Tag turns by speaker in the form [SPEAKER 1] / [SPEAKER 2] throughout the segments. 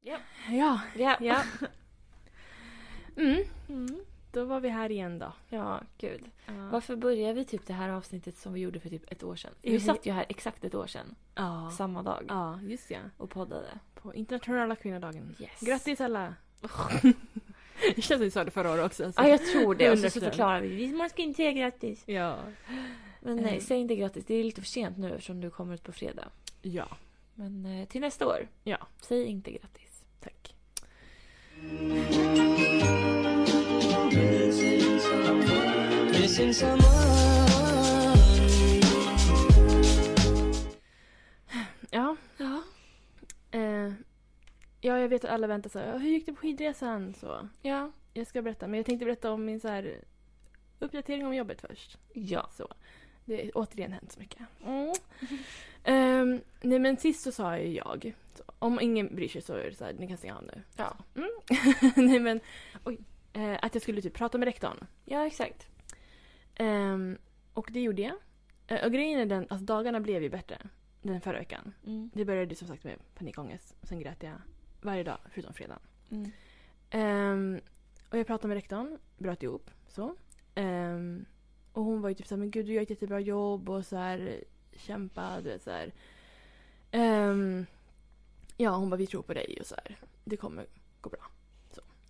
[SPEAKER 1] Ja.
[SPEAKER 2] Ja.
[SPEAKER 1] Ja.
[SPEAKER 2] ja. Mm,
[SPEAKER 1] Mm.
[SPEAKER 2] då var vi här igen då.
[SPEAKER 1] Ja, gud.
[SPEAKER 2] Ja.
[SPEAKER 1] Varför börjar vi typ det här avsnittet som vi gjorde för typ ett år sedan?
[SPEAKER 2] Jag
[SPEAKER 1] Vi
[SPEAKER 2] vet.
[SPEAKER 1] satt ju här exakt ett år sedan,
[SPEAKER 2] Ja.
[SPEAKER 1] samma dag,
[SPEAKER 2] ja, just ja.
[SPEAKER 1] och poddade.
[SPEAKER 2] På internationella kvinnodagen.
[SPEAKER 1] Yes.
[SPEAKER 2] Grattis alla! det känns som vi sa det förra året också. alltså.
[SPEAKER 1] Ja, jag tror det. Och så, så
[SPEAKER 2] Underförstådd.
[SPEAKER 1] förklarar vi. vi. Man ska inte säga grattis.
[SPEAKER 2] Ja.
[SPEAKER 1] Men nej,
[SPEAKER 2] Eh.
[SPEAKER 1] säg inte grattis. Det är lite för sent nu eftersom du kommer ut på fredag.
[SPEAKER 2] ja.
[SPEAKER 1] Men eh, till nästa år.
[SPEAKER 2] Ja.
[SPEAKER 1] Säg inte grattis.
[SPEAKER 2] Tack.
[SPEAKER 3] Missing someone.
[SPEAKER 2] Ja.
[SPEAKER 1] Ja.
[SPEAKER 2] Eh, ja, jag vet att alla väntar så här, hur gick det på skidresan? Så.
[SPEAKER 1] Ja.
[SPEAKER 2] Jag ska berätta, men jag tänkte berätta om min så här, uppdatering om jobbet först.
[SPEAKER 1] Ja. Mm.
[SPEAKER 2] Så. Det har återigen hänt så mycket. Ehm, nej men sist så sa ju jag, så, om ingen bryr sig så är det så här, ni kan stänga av nu.
[SPEAKER 1] Ja.
[SPEAKER 2] Mm. nej men, oj, eh, att jag skulle typ prata med rektorn.
[SPEAKER 1] ja, exakt.
[SPEAKER 2] Ehm, och det gjorde jag. Eh, och grejen är den, alltså dagarna blev ju bättre den förra veckan.
[SPEAKER 1] Mm.
[SPEAKER 2] Det började ju som sagt med panikångest. Sen grät jag varje dag förutom fredagen.
[SPEAKER 1] Mm.
[SPEAKER 2] Ehm, och jag pratade med rektorn, bröt ihop. Så. Ehm, och hon var ju typ såhär, men gud du gör ett jättebra jobb och så här kämpa, du vet så här. Ehm, ja, hon bara, vi tror på dig och så här. Det kommer gå bra.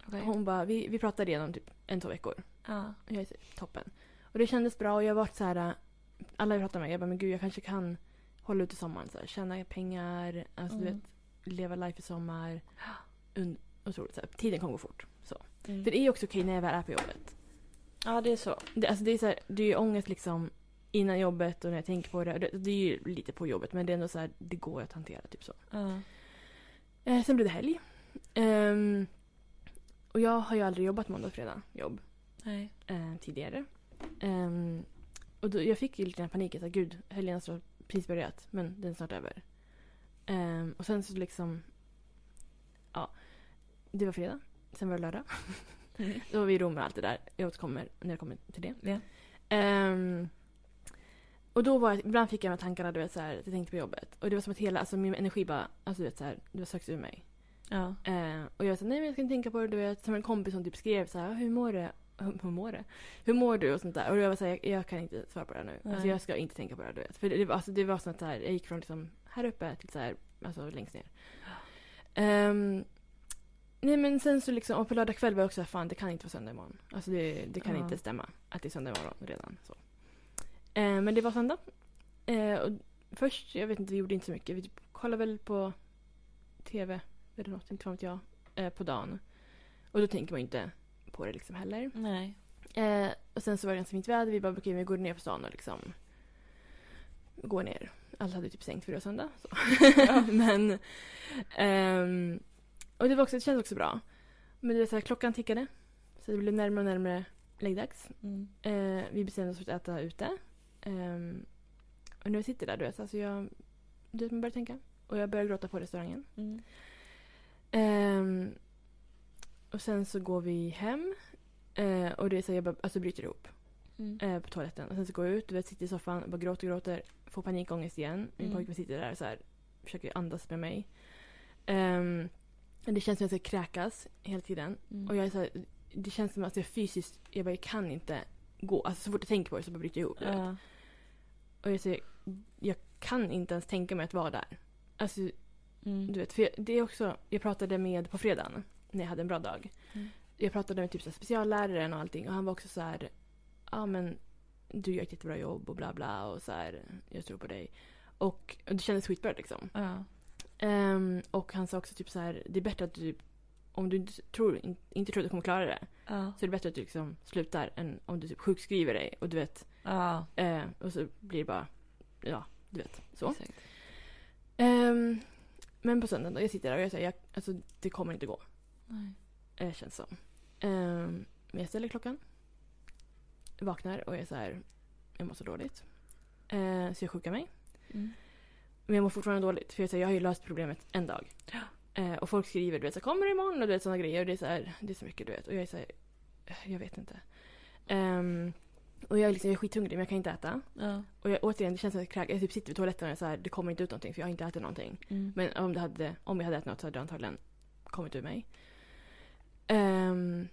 [SPEAKER 1] Okej.
[SPEAKER 2] Hon bara, vi, vi pratade igenom typ en, två veckor.
[SPEAKER 1] Ja.
[SPEAKER 2] Och jag är typ toppen. Och det kändes bra och jag vart så här. äh, alla jag pratade med, jag bara, men gud jag kanske kan hålla ut i sommaren. Så här, tjäna pengar, alltså du
[SPEAKER 1] Mm.
[SPEAKER 2] vet, leva life i sommar. Und- otroligt, så här, tiden kommer gå fort. Så.
[SPEAKER 1] Mm.
[SPEAKER 2] För det är ju också okej när jag väl är på jobbet.
[SPEAKER 1] Ja, det är så.
[SPEAKER 2] Det, alltså det, är så här, det är ju ångest liksom innan jobbet och när jag tänker på det. Det, det är ju lite på jobbet men det är ändå så här, det går att hantera. Typ så.
[SPEAKER 1] Ja.
[SPEAKER 2] Eh, sen blev det helg. Ehm, och jag har ju aldrig jobbat måndag och fredag jobb
[SPEAKER 1] Nej.
[SPEAKER 2] eh, tidigare. Ehm, och då, jag fick ju lite den här paniken. Så här, Gud, helgen har precis börjat men den är snart över. Ehm, och sen så liksom... Ja. Det var fredag. Sen var det lördag. Då var vi i Rom och allt det där. Jag återkommer när jag kommer till det.
[SPEAKER 1] Ja.
[SPEAKER 2] Ehm, och då var jag, ibland fick jag de här tankarna, du vet så här, att jag tänkte på jobbet. Och det var som att hela, alltså min energi bara, alltså du vet så här, det var söks ur mig.
[SPEAKER 1] Ja.
[SPEAKER 2] Ehm, och jag sa nej men jag ska inte tänka på det, du vet. Som en kompis som typ skrev så här, hur mår du? Hur hur mår du? Hur mår du? Och sånt där. Och jag var så här, jag, jag kan inte svara på det här nu. Alltså
[SPEAKER 1] Nej.
[SPEAKER 2] jag ska inte tänka på det här, du vet. För det, det, var, alltså, det var sånt här, jag gick från liksom här uppe till så här, alltså längst ner. Ehm, nej men sen så liksom, och på lördag kväll var jag också såhär, fan det kan inte vara söndag imorgon. Alltså det, det kan
[SPEAKER 1] Ja.
[SPEAKER 2] inte stämma att det är söndag imorgon redan. Så. Eh, men det var söndag. Eh, och först, jag vet inte, vi gjorde inte så mycket. Vi typ kollade väl på TV eller något, inte fan vet jag, eh, på dagen. Och då tänker man ju inte på det liksom heller.
[SPEAKER 1] Nej.
[SPEAKER 2] Eh, och sen så var det ganska fint väder. Vi bara, okej, vi går ner på stan och liksom går ner. Alla hade typ sänkt för det var söndag. Så. Men, ehm, och det, var också, det kändes också bra. Men det var så här, klockan tickade. Så det blev närmare och närmare läggdags.
[SPEAKER 1] Mm.
[SPEAKER 2] Eh, vi bestämde oss för att äta ute. Ehm, och när jag sitter där, du vet, alltså jag, du vet, man börjar tänka. Och jag börjar gråta på restaurangen.
[SPEAKER 1] Mm.
[SPEAKER 2] Ehm, och sen så går vi hem. Eh, och det är så här, jag bara, alltså bryter ihop
[SPEAKER 1] Mm.
[SPEAKER 2] eh, på toaletten. Och sen så går jag ut, du vet, sitter i soffan, bara gråter, gråter. Får panikångest igen. Min
[SPEAKER 1] Mm.
[SPEAKER 2] pojkvän sitter där och så här, försöker andas med mig. Ehm, det känns som att jag ska kräkas hela tiden.
[SPEAKER 1] Mm.
[SPEAKER 2] Och jag är så här, det känns som att jag fysiskt, jag bara jag kan inte gå. Alltså så fort jag tänker på det så bara bryter jag ihop. du vet.
[SPEAKER 1] Ja.
[SPEAKER 2] Och jag, säger, jag kan inte ens tänka mig att vara där. Alltså
[SPEAKER 1] Mm.
[SPEAKER 2] du vet, för jag, det är också, jag pratade med på fredagen när jag hade en bra dag.
[SPEAKER 1] Mm.
[SPEAKER 2] Jag pratade med typ så här, specialläraren och allting och han var också så här, ja men du gör ett jättebra jobb och bla bla och så här, jag tror på dig. Och, och det kändes skitbra liksom.
[SPEAKER 1] Ja.
[SPEAKER 2] Ehm, och han sa också typ så här, det är bättre att du, typ- om du inte tror, in, inte tror att du kommer klara det,
[SPEAKER 1] Ja.
[SPEAKER 2] så är det bättre att du liksom slutar än om du typ sjukskriver dig och du vet,
[SPEAKER 1] Ja.
[SPEAKER 2] eh, och så blir det bara, ja du vet. Så.
[SPEAKER 1] Exakt.
[SPEAKER 2] Ehm, men på söndagen då, jag sitter där och jag säger, jag, alltså det kommer inte gå.
[SPEAKER 1] Nej.
[SPEAKER 2] Eh, känns som. Ehm, men jag ställer klockan. Vaknar och jag är så här, jag mår så dåligt. Eh, så jag sjukar mig.
[SPEAKER 1] Mm.
[SPEAKER 2] Men jag mår fortfarande dåligt för jag, säger, jag har ju löst problemet en dag. Eh, och folk skriver du vet så här, kommer du imorgon och du vet sådana grejer. Och det är så här, det är så mycket du vet. Och jag är så här, eh, jag vet inte. Ehm, och jag är, liksom, jag är skithungrig men jag kan inte äta.
[SPEAKER 1] Ja.
[SPEAKER 2] Och jag, återigen det känns som att jag kräks. Jag typ sitter vid toaletten och jag är så här, det kommer inte ut någonting för jag har inte ätit någonting.
[SPEAKER 1] Mm.
[SPEAKER 2] Men om, det hade, om jag hade ätit något så hade det antagligen kommit ur mig. Ehm,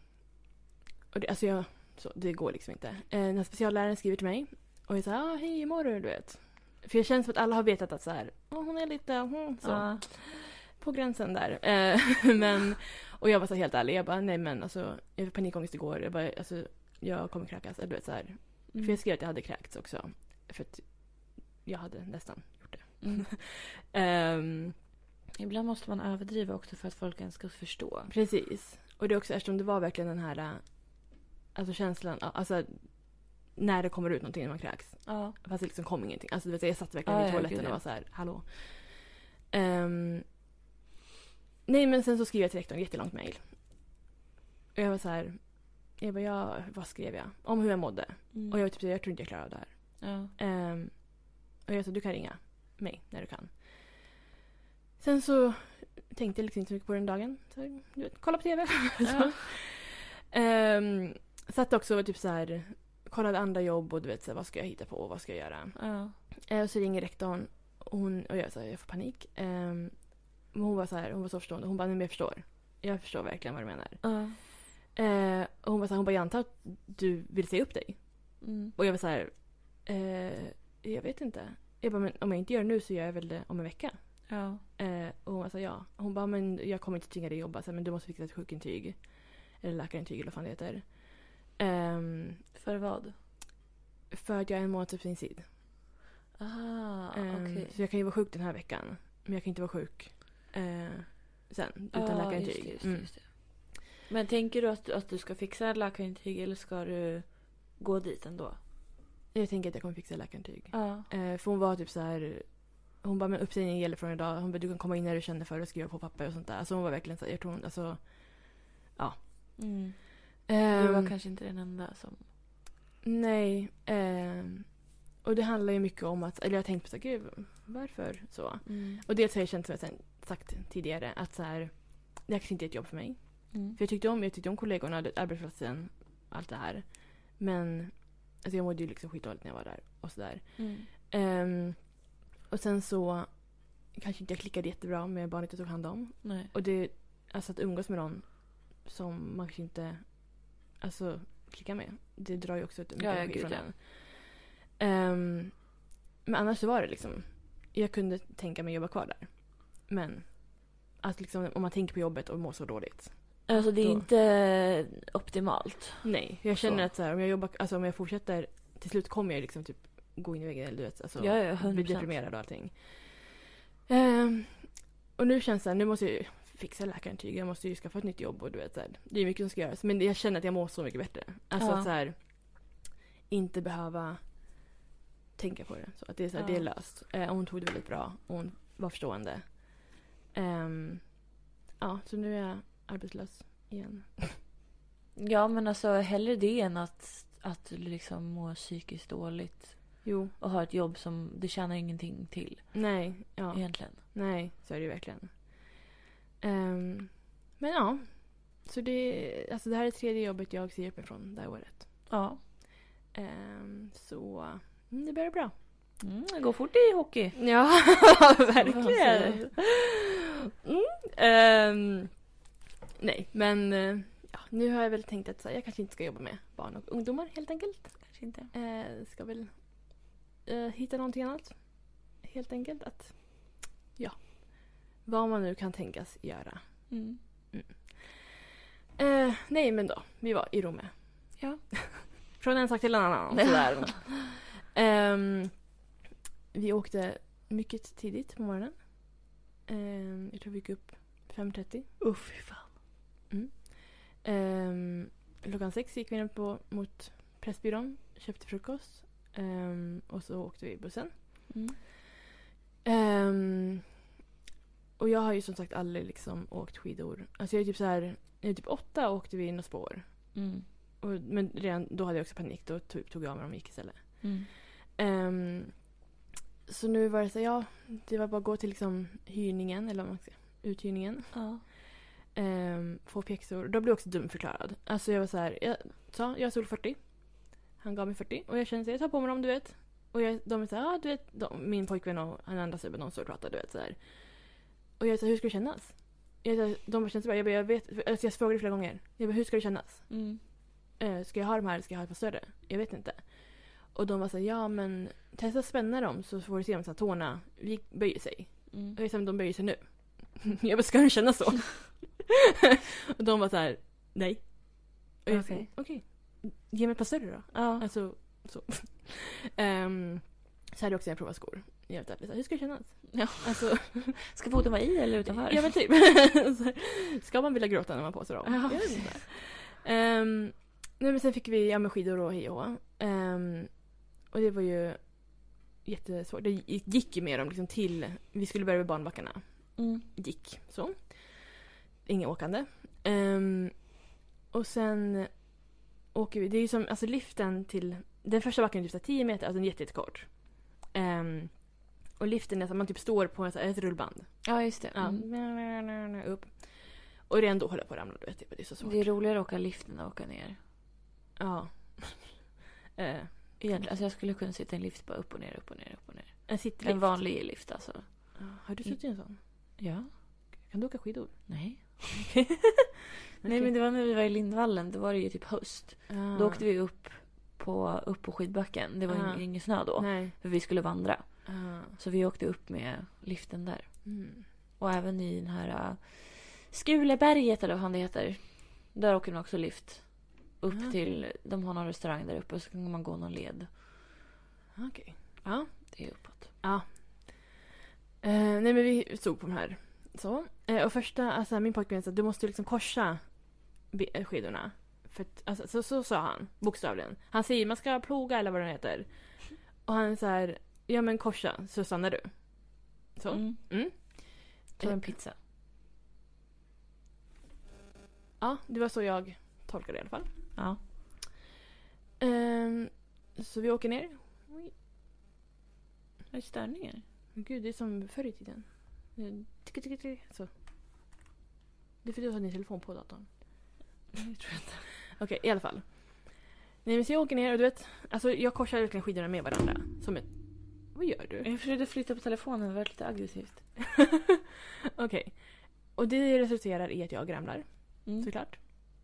[SPEAKER 2] och det, alltså jag, så, det går liksom inte. Eh, den här specialläraren skriver till mig och jag säger ah, hej imorgon du vet. För jag känner som att alla har vetat att så här, "Åh, hon är lite mm, så,
[SPEAKER 1] Ja.
[SPEAKER 2] på gränsen där. Eh, men, och jag var så här helt ärlig, jag bara nej men alltså jag fick panikångest igår. Jag bara alltså jag kommer kräkas. Eller du vet så här. För
[SPEAKER 1] Mm.
[SPEAKER 2] jag skrev att jag hade kräkts också. För att jag hade nästan gjort det.
[SPEAKER 1] Mm.
[SPEAKER 2] Ehm,
[SPEAKER 1] Ibland måste man överdriva också för att folk ens ska förstå.
[SPEAKER 2] Precis. Och det är också eftersom det var verkligen den här äh, alltså känslan, ja, alltså när det kommer ut någonting när man kräks.
[SPEAKER 1] Ja.
[SPEAKER 2] Fast det liksom kom ingenting. Alltså du vet, jag satt verkligen
[SPEAKER 1] Ja,
[SPEAKER 2] i
[SPEAKER 1] ja,
[SPEAKER 2] toaletten
[SPEAKER 1] gud,
[SPEAKER 2] och
[SPEAKER 1] ja.
[SPEAKER 2] var så här, hallå. Ehm, nej men sen så skrev jag till rektorn, jättelångt mejl. Och jag var så här, jag bara, ja, vad skrev jag? Om hur jag mådde.
[SPEAKER 1] Mm.
[SPEAKER 2] Och jag var typ så här, jag tror inte jag klarar av det här.
[SPEAKER 1] ja.
[SPEAKER 2] Ehm, och jag sa du kan ringa mig när du kan. Sen så tänkte jag liksom inte så mycket på den dagen. Så, här, du vet, kolla på TV. så.
[SPEAKER 1] Ja.
[SPEAKER 2] Ehm, satt också och typ så här, kollade andra jobb och du vet så här, vad ska jag hitta på och vad ska jag göra.
[SPEAKER 1] Ja.
[SPEAKER 2] Eh, och så ringer rektorn och, hon, och jag, så här, jag får panik. Ehm, men hon var, så här, hon var så förstående. Hon bara, nej men jag förstår. Jag förstår verkligen vad du menar.
[SPEAKER 1] Ja.
[SPEAKER 2] Eh, och hon var så här, hon bara, jag antar att du vill säga upp dig.
[SPEAKER 1] Mm.
[SPEAKER 2] Och jag var så här, eh, jag vet inte. Jag bara, men om jag inte gör det nu så gör jag väl det om en vecka.
[SPEAKER 1] Ja.
[SPEAKER 2] Eh, och hon var så här, ja. Hon bara, men jag kommer inte tvinga dig att jobba. Så här, men du måste fixa ett sjukintyg. Eller läkarintyg eller vad fan det heter. Ehm,
[SPEAKER 1] För vad?
[SPEAKER 2] för att jag är en månad suicid.
[SPEAKER 1] Ah,
[SPEAKER 2] Ehm,
[SPEAKER 1] okej.
[SPEAKER 2] Så jag kan ju vara sjuk den här veckan. Men jag kan inte vara sjuk eh, sen. Utan
[SPEAKER 1] Ja,
[SPEAKER 2] läkarintyg.
[SPEAKER 1] Ah, Just det, just det,
[SPEAKER 2] Mm.
[SPEAKER 1] just det. Men tänker du att, att du ska fixa ett läkarintyg eller ska du gå dit ändå?
[SPEAKER 2] Jag tänker att jag kommer fixa läkarintyg.
[SPEAKER 1] Ja.
[SPEAKER 2] Eh, för hon var typ så här... Hon bara, men uppsägningen gäller från idag. Hon bara, du kan komma in när du känner för det och skriva på papper och sånt där. Alltså hon var verkligen så här, jag tror hon, alltså...
[SPEAKER 1] Mm. Du
[SPEAKER 2] Ehm,
[SPEAKER 1] var kanske inte den enda som...
[SPEAKER 2] Nej. ehm, och det handlar ju mycket om att, eller jag har tänkt på så här, gud, varför så?
[SPEAKER 1] Mm.
[SPEAKER 2] Och dels har jag känt som jag sen sagt tidigare att så här, det här kanske inte är ett jobb för mig.
[SPEAKER 1] Mm.
[SPEAKER 2] För jag tyckte om, jag tyckte om kollegorna, det- arbetsplatsen, allt det här. Men alltså jag mådde ju liksom skitdåligt när jag var där och sådär.
[SPEAKER 1] Mm.
[SPEAKER 2] Ehm, och sen så kanske inte jag klickade jättebra med barnet jag tog hand om.
[SPEAKER 1] Nej.
[SPEAKER 2] Och det, alltså att umgås med någon som man kanske inte alltså, klickar med, det drar ju också ut mycket
[SPEAKER 1] Ja, ja,
[SPEAKER 2] energi
[SPEAKER 1] gud,
[SPEAKER 2] från
[SPEAKER 1] ja.
[SPEAKER 2] en. Ehm, men annars så var det liksom, jag kunde tänka mig att jobba kvar där. Men att liksom, om man tänker på jobbet och mår så dåligt.
[SPEAKER 1] Alltså det är
[SPEAKER 2] Då-
[SPEAKER 1] inte optimalt.
[SPEAKER 2] Nej, jag känner
[SPEAKER 1] Så.
[SPEAKER 2] att så här, om, jag jobbar, alltså, om jag fortsätter, till slut kommer jag liksom typ gå in i väggen eller du vet. Alltså,
[SPEAKER 1] Ja, ja,
[SPEAKER 2] blir
[SPEAKER 1] 100%.
[SPEAKER 2] deprimerad och allting. Ehm, och nu känns det här, nu måste jag ju fixa läkarintyg, jag måste ju skaffa ett nytt jobb och du vet så här, Det är mycket som ska göras men jag känner att jag mår så mycket bättre. Alltså
[SPEAKER 1] Ja.
[SPEAKER 2] att så här, inte behöva tänka på det. Så att det är, så här,
[SPEAKER 1] Ja.
[SPEAKER 2] det är löst. Eh, och hon tog det väldigt bra och hon var förstående. Ehm, ja, så nu är jag arbetslös igen.
[SPEAKER 1] Ja men alltså hellre det än att, att du liksom mår psykiskt dåligt
[SPEAKER 2] Jo,
[SPEAKER 1] och har ett jobb som du tjänar ingenting till
[SPEAKER 2] nej, ja,
[SPEAKER 1] egentligen.
[SPEAKER 2] nej, så är det ju verkligen. Ehm, men ja, så det, alltså det här är tredje jobbet jag säger upp mig från det här året.
[SPEAKER 1] Ja.
[SPEAKER 2] Ehm, så mm, det börjar bra.
[SPEAKER 1] Mm, det går fort i hockey.
[SPEAKER 2] Ja,
[SPEAKER 1] verkligen.
[SPEAKER 2] Mm, ehm, nej, men eh, ja, nu har jag väl tänkt att så här, jag kanske inte ska jobba med barn och ungdomar helt enkelt.
[SPEAKER 1] Kanske inte.
[SPEAKER 2] Eh, ska väl eh, hitta någonting annat. Helt enkelt att, ja, vad man nu kan tänkas göra.
[SPEAKER 1] Mm.
[SPEAKER 2] Eh, nej, men då, vi var i Rom.
[SPEAKER 1] Ja.
[SPEAKER 2] Från en sak till en annan. Sådär. Ehm, vi åkte mycket tidigt på morgonen. Ehm, jag tror vi gick upp 5.30.
[SPEAKER 1] Uff, fy fan.
[SPEAKER 2] Um, klockan sex gick vi ner på, mot Pressbyrån, köpte frukost Ehm, och så åkte vi bussen.
[SPEAKER 1] Mm.
[SPEAKER 2] Ehm, och jag har ju som sagt aldrig liksom åkt skidor. Alltså jag är typ så här, när jag är typ åtta åkte vi in och spår.
[SPEAKER 1] Mm.
[SPEAKER 2] Och, men redan då hade jag också panik, då typ tog jag av mig dem och gick istället.
[SPEAKER 1] Mm.
[SPEAKER 2] Ehm, så nu var det så här, ja, det var bara att gå till liksom hyrningen, eller vad man ska säga, uthyrningen.
[SPEAKER 1] Ja.
[SPEAKER 2] Ehm, få pjäxor. Då blev jag också dumförklarad. Alltså jag var så här, jag sa, jag har sol 40. Han gav mig 40 och jag kände så här, jag tar på mig dem du vet. Och jag, de är så här, ah, du vet, de, min pojkvän och han andra snubben, de står och pratar du vet så här. Och jag sa, hur ska det kännas? jag, de känns bra. Jag, bara, jag, vet, alltså jag frågade flera gånger. Jag bara, hur ska det kännas?
[SPEAKER 1] Mm.
[SPEAKER 2] Eh, Ska jag ha de här eller ska jag ha ett par större? Jag vet inte. Och de var så här, ja men testa spänna dem så får du se om så här, tårna vi- böjer sig.
[SPEAKER 1] Mm.
[SPEAKER 2] Jag vet inte om de böjer sig nu. Jag bara, ska den kännas så? och de var så här, nej. Och jag sa,
[SPEAKER 1] Okej.
[SPEAKER 2] okej. Ge mig ett par större då.
[SPEAKER 1] Ja.
[SPEAKER 2] Alltså, så. Ehm, så hade jag också när jag provade skor. Jag vet inte, hur ska det kännas?
[SPEAKER 1] Ja.
[SPEAKER 2] Alltså,
[SPEAKER 1] Ska foten vara i eller utanför?
[SPEAKER 2] Ja men typ. Ska man vilja gråta när man har på sig dem?
[SPEAKER 1] Ja.
[SPEAKER 2] Jag vet inte. Ehm, nej, men sen fick vi ja, men skidor och hej och hå. Ehm, Och det var ju jättesvårt. Det gick ju med dem liksom till... Vi skulle börja med barnbackarna.
[SPEAKER 1] Mm.
[SPEAKER 2] Gick så. Inget åkande. Ehm, och sen åker vi. Det är ju som alltså liften till... Den första backen är typ så här 10 meter, alltså den är jätte- jättekort. Ehm, och liften är att man typ står på en så här- ett rullband.
[SPEAKER 1] Ja, just det.
[SPEAKER 2] Ja.
[SPEAKER 1] Mm.
[SPEAKER 2] Upp. Och redan då höll jag på att ramla. Du vet, det är så svårt.
[SPEAKER 1] Det är roligare att åka lift än att åka ner.
[SPEAKER 2] Ja. Eh,
[SPEAKER 1] Egentligen. Alltså jag skulle kunna sitta i en lift bara upp och ner, upp och ner, upp och ner.
[SPEAKER 2] en sittlift.
[SPEAKER 1] En vanlig lift alltså.
[SPEAKER 2] Ja, Har du suttit i en sån?
[SPEAKER 1] Ja.
[SPEAKER 2] Kan du åka skidor?
[SPEAKER 1] Nej. Nej men det var när vi var i Lindvallen, då var det ju typ höst.
[SPEAKER 2] Ah.
[SPEAKER 1] Då åkte vi upp på, upp på skidbacken. Det var
[SPEAKER 2] Ah.
[SPEAKER 1] ing- ingen snö då.
[SPEAKER 2] Nej.
[SPEAKER 1] För vi skulle vandra.
[SPEAKER 2] Ah.
[SPEAKER 1] Så vi åkte upp med liften där.
[SPEAKER 2] Mm.
[SPEAKER 1] Och även i den här uh, Skuleberget eller vad han det heter. Där åker man också lift. Upp
[SPEAKER 2] Ah.
[SPEAKER 1] till, de har någon restaurang där uppe så kan man gå någon led. Ah,
[SPEAKER 2] Okej. Ja.
[SPEAKER 1] Det är uppåt.
[SPEAKER 2] Eh, nej men vi stod på de här. Så. Eh, och första, alltså min pojkvän sa du måste liksom korsa be- eh, skidorna. För att, alltså, så, så sa han, bokstavligen. Han säger man ska ploga eller vad det heter. Och han så här, ja men korsa så stannar du. Så.
[SPEAKER 1] Mm. Eh,
[SPEAKER 2] Mm.
[SPEAKER 1] Som en pizza.
[SPEAKER 2] Ja, det var så jag tolkade det i alla fall.
[SPEAKER 1] Ja.
[SPEAKER 2] Ehm, så vi åker ner.
[SPEAKER 1] Är det störningar?
[SPEAKER 2] Men Gud, det är som förr i tiden. Eh, tick, tick, tick, Så. Det är för att du har din telefon på datorn. Okej, i alla fall. Nej, men så jag åker ner och du vet, alltså jag korsar verkligen skidorna med varandra. Som ett... Vad gör du?
[SPEAKER 1] Jag försökte flytta på telefonen, det var lite aggressivt.
[SPEAKER 2] Okej. Och det resulterar i att jag ramlar,
[SPEAKER 1] Mm.
[SPEAKER 2] såklart.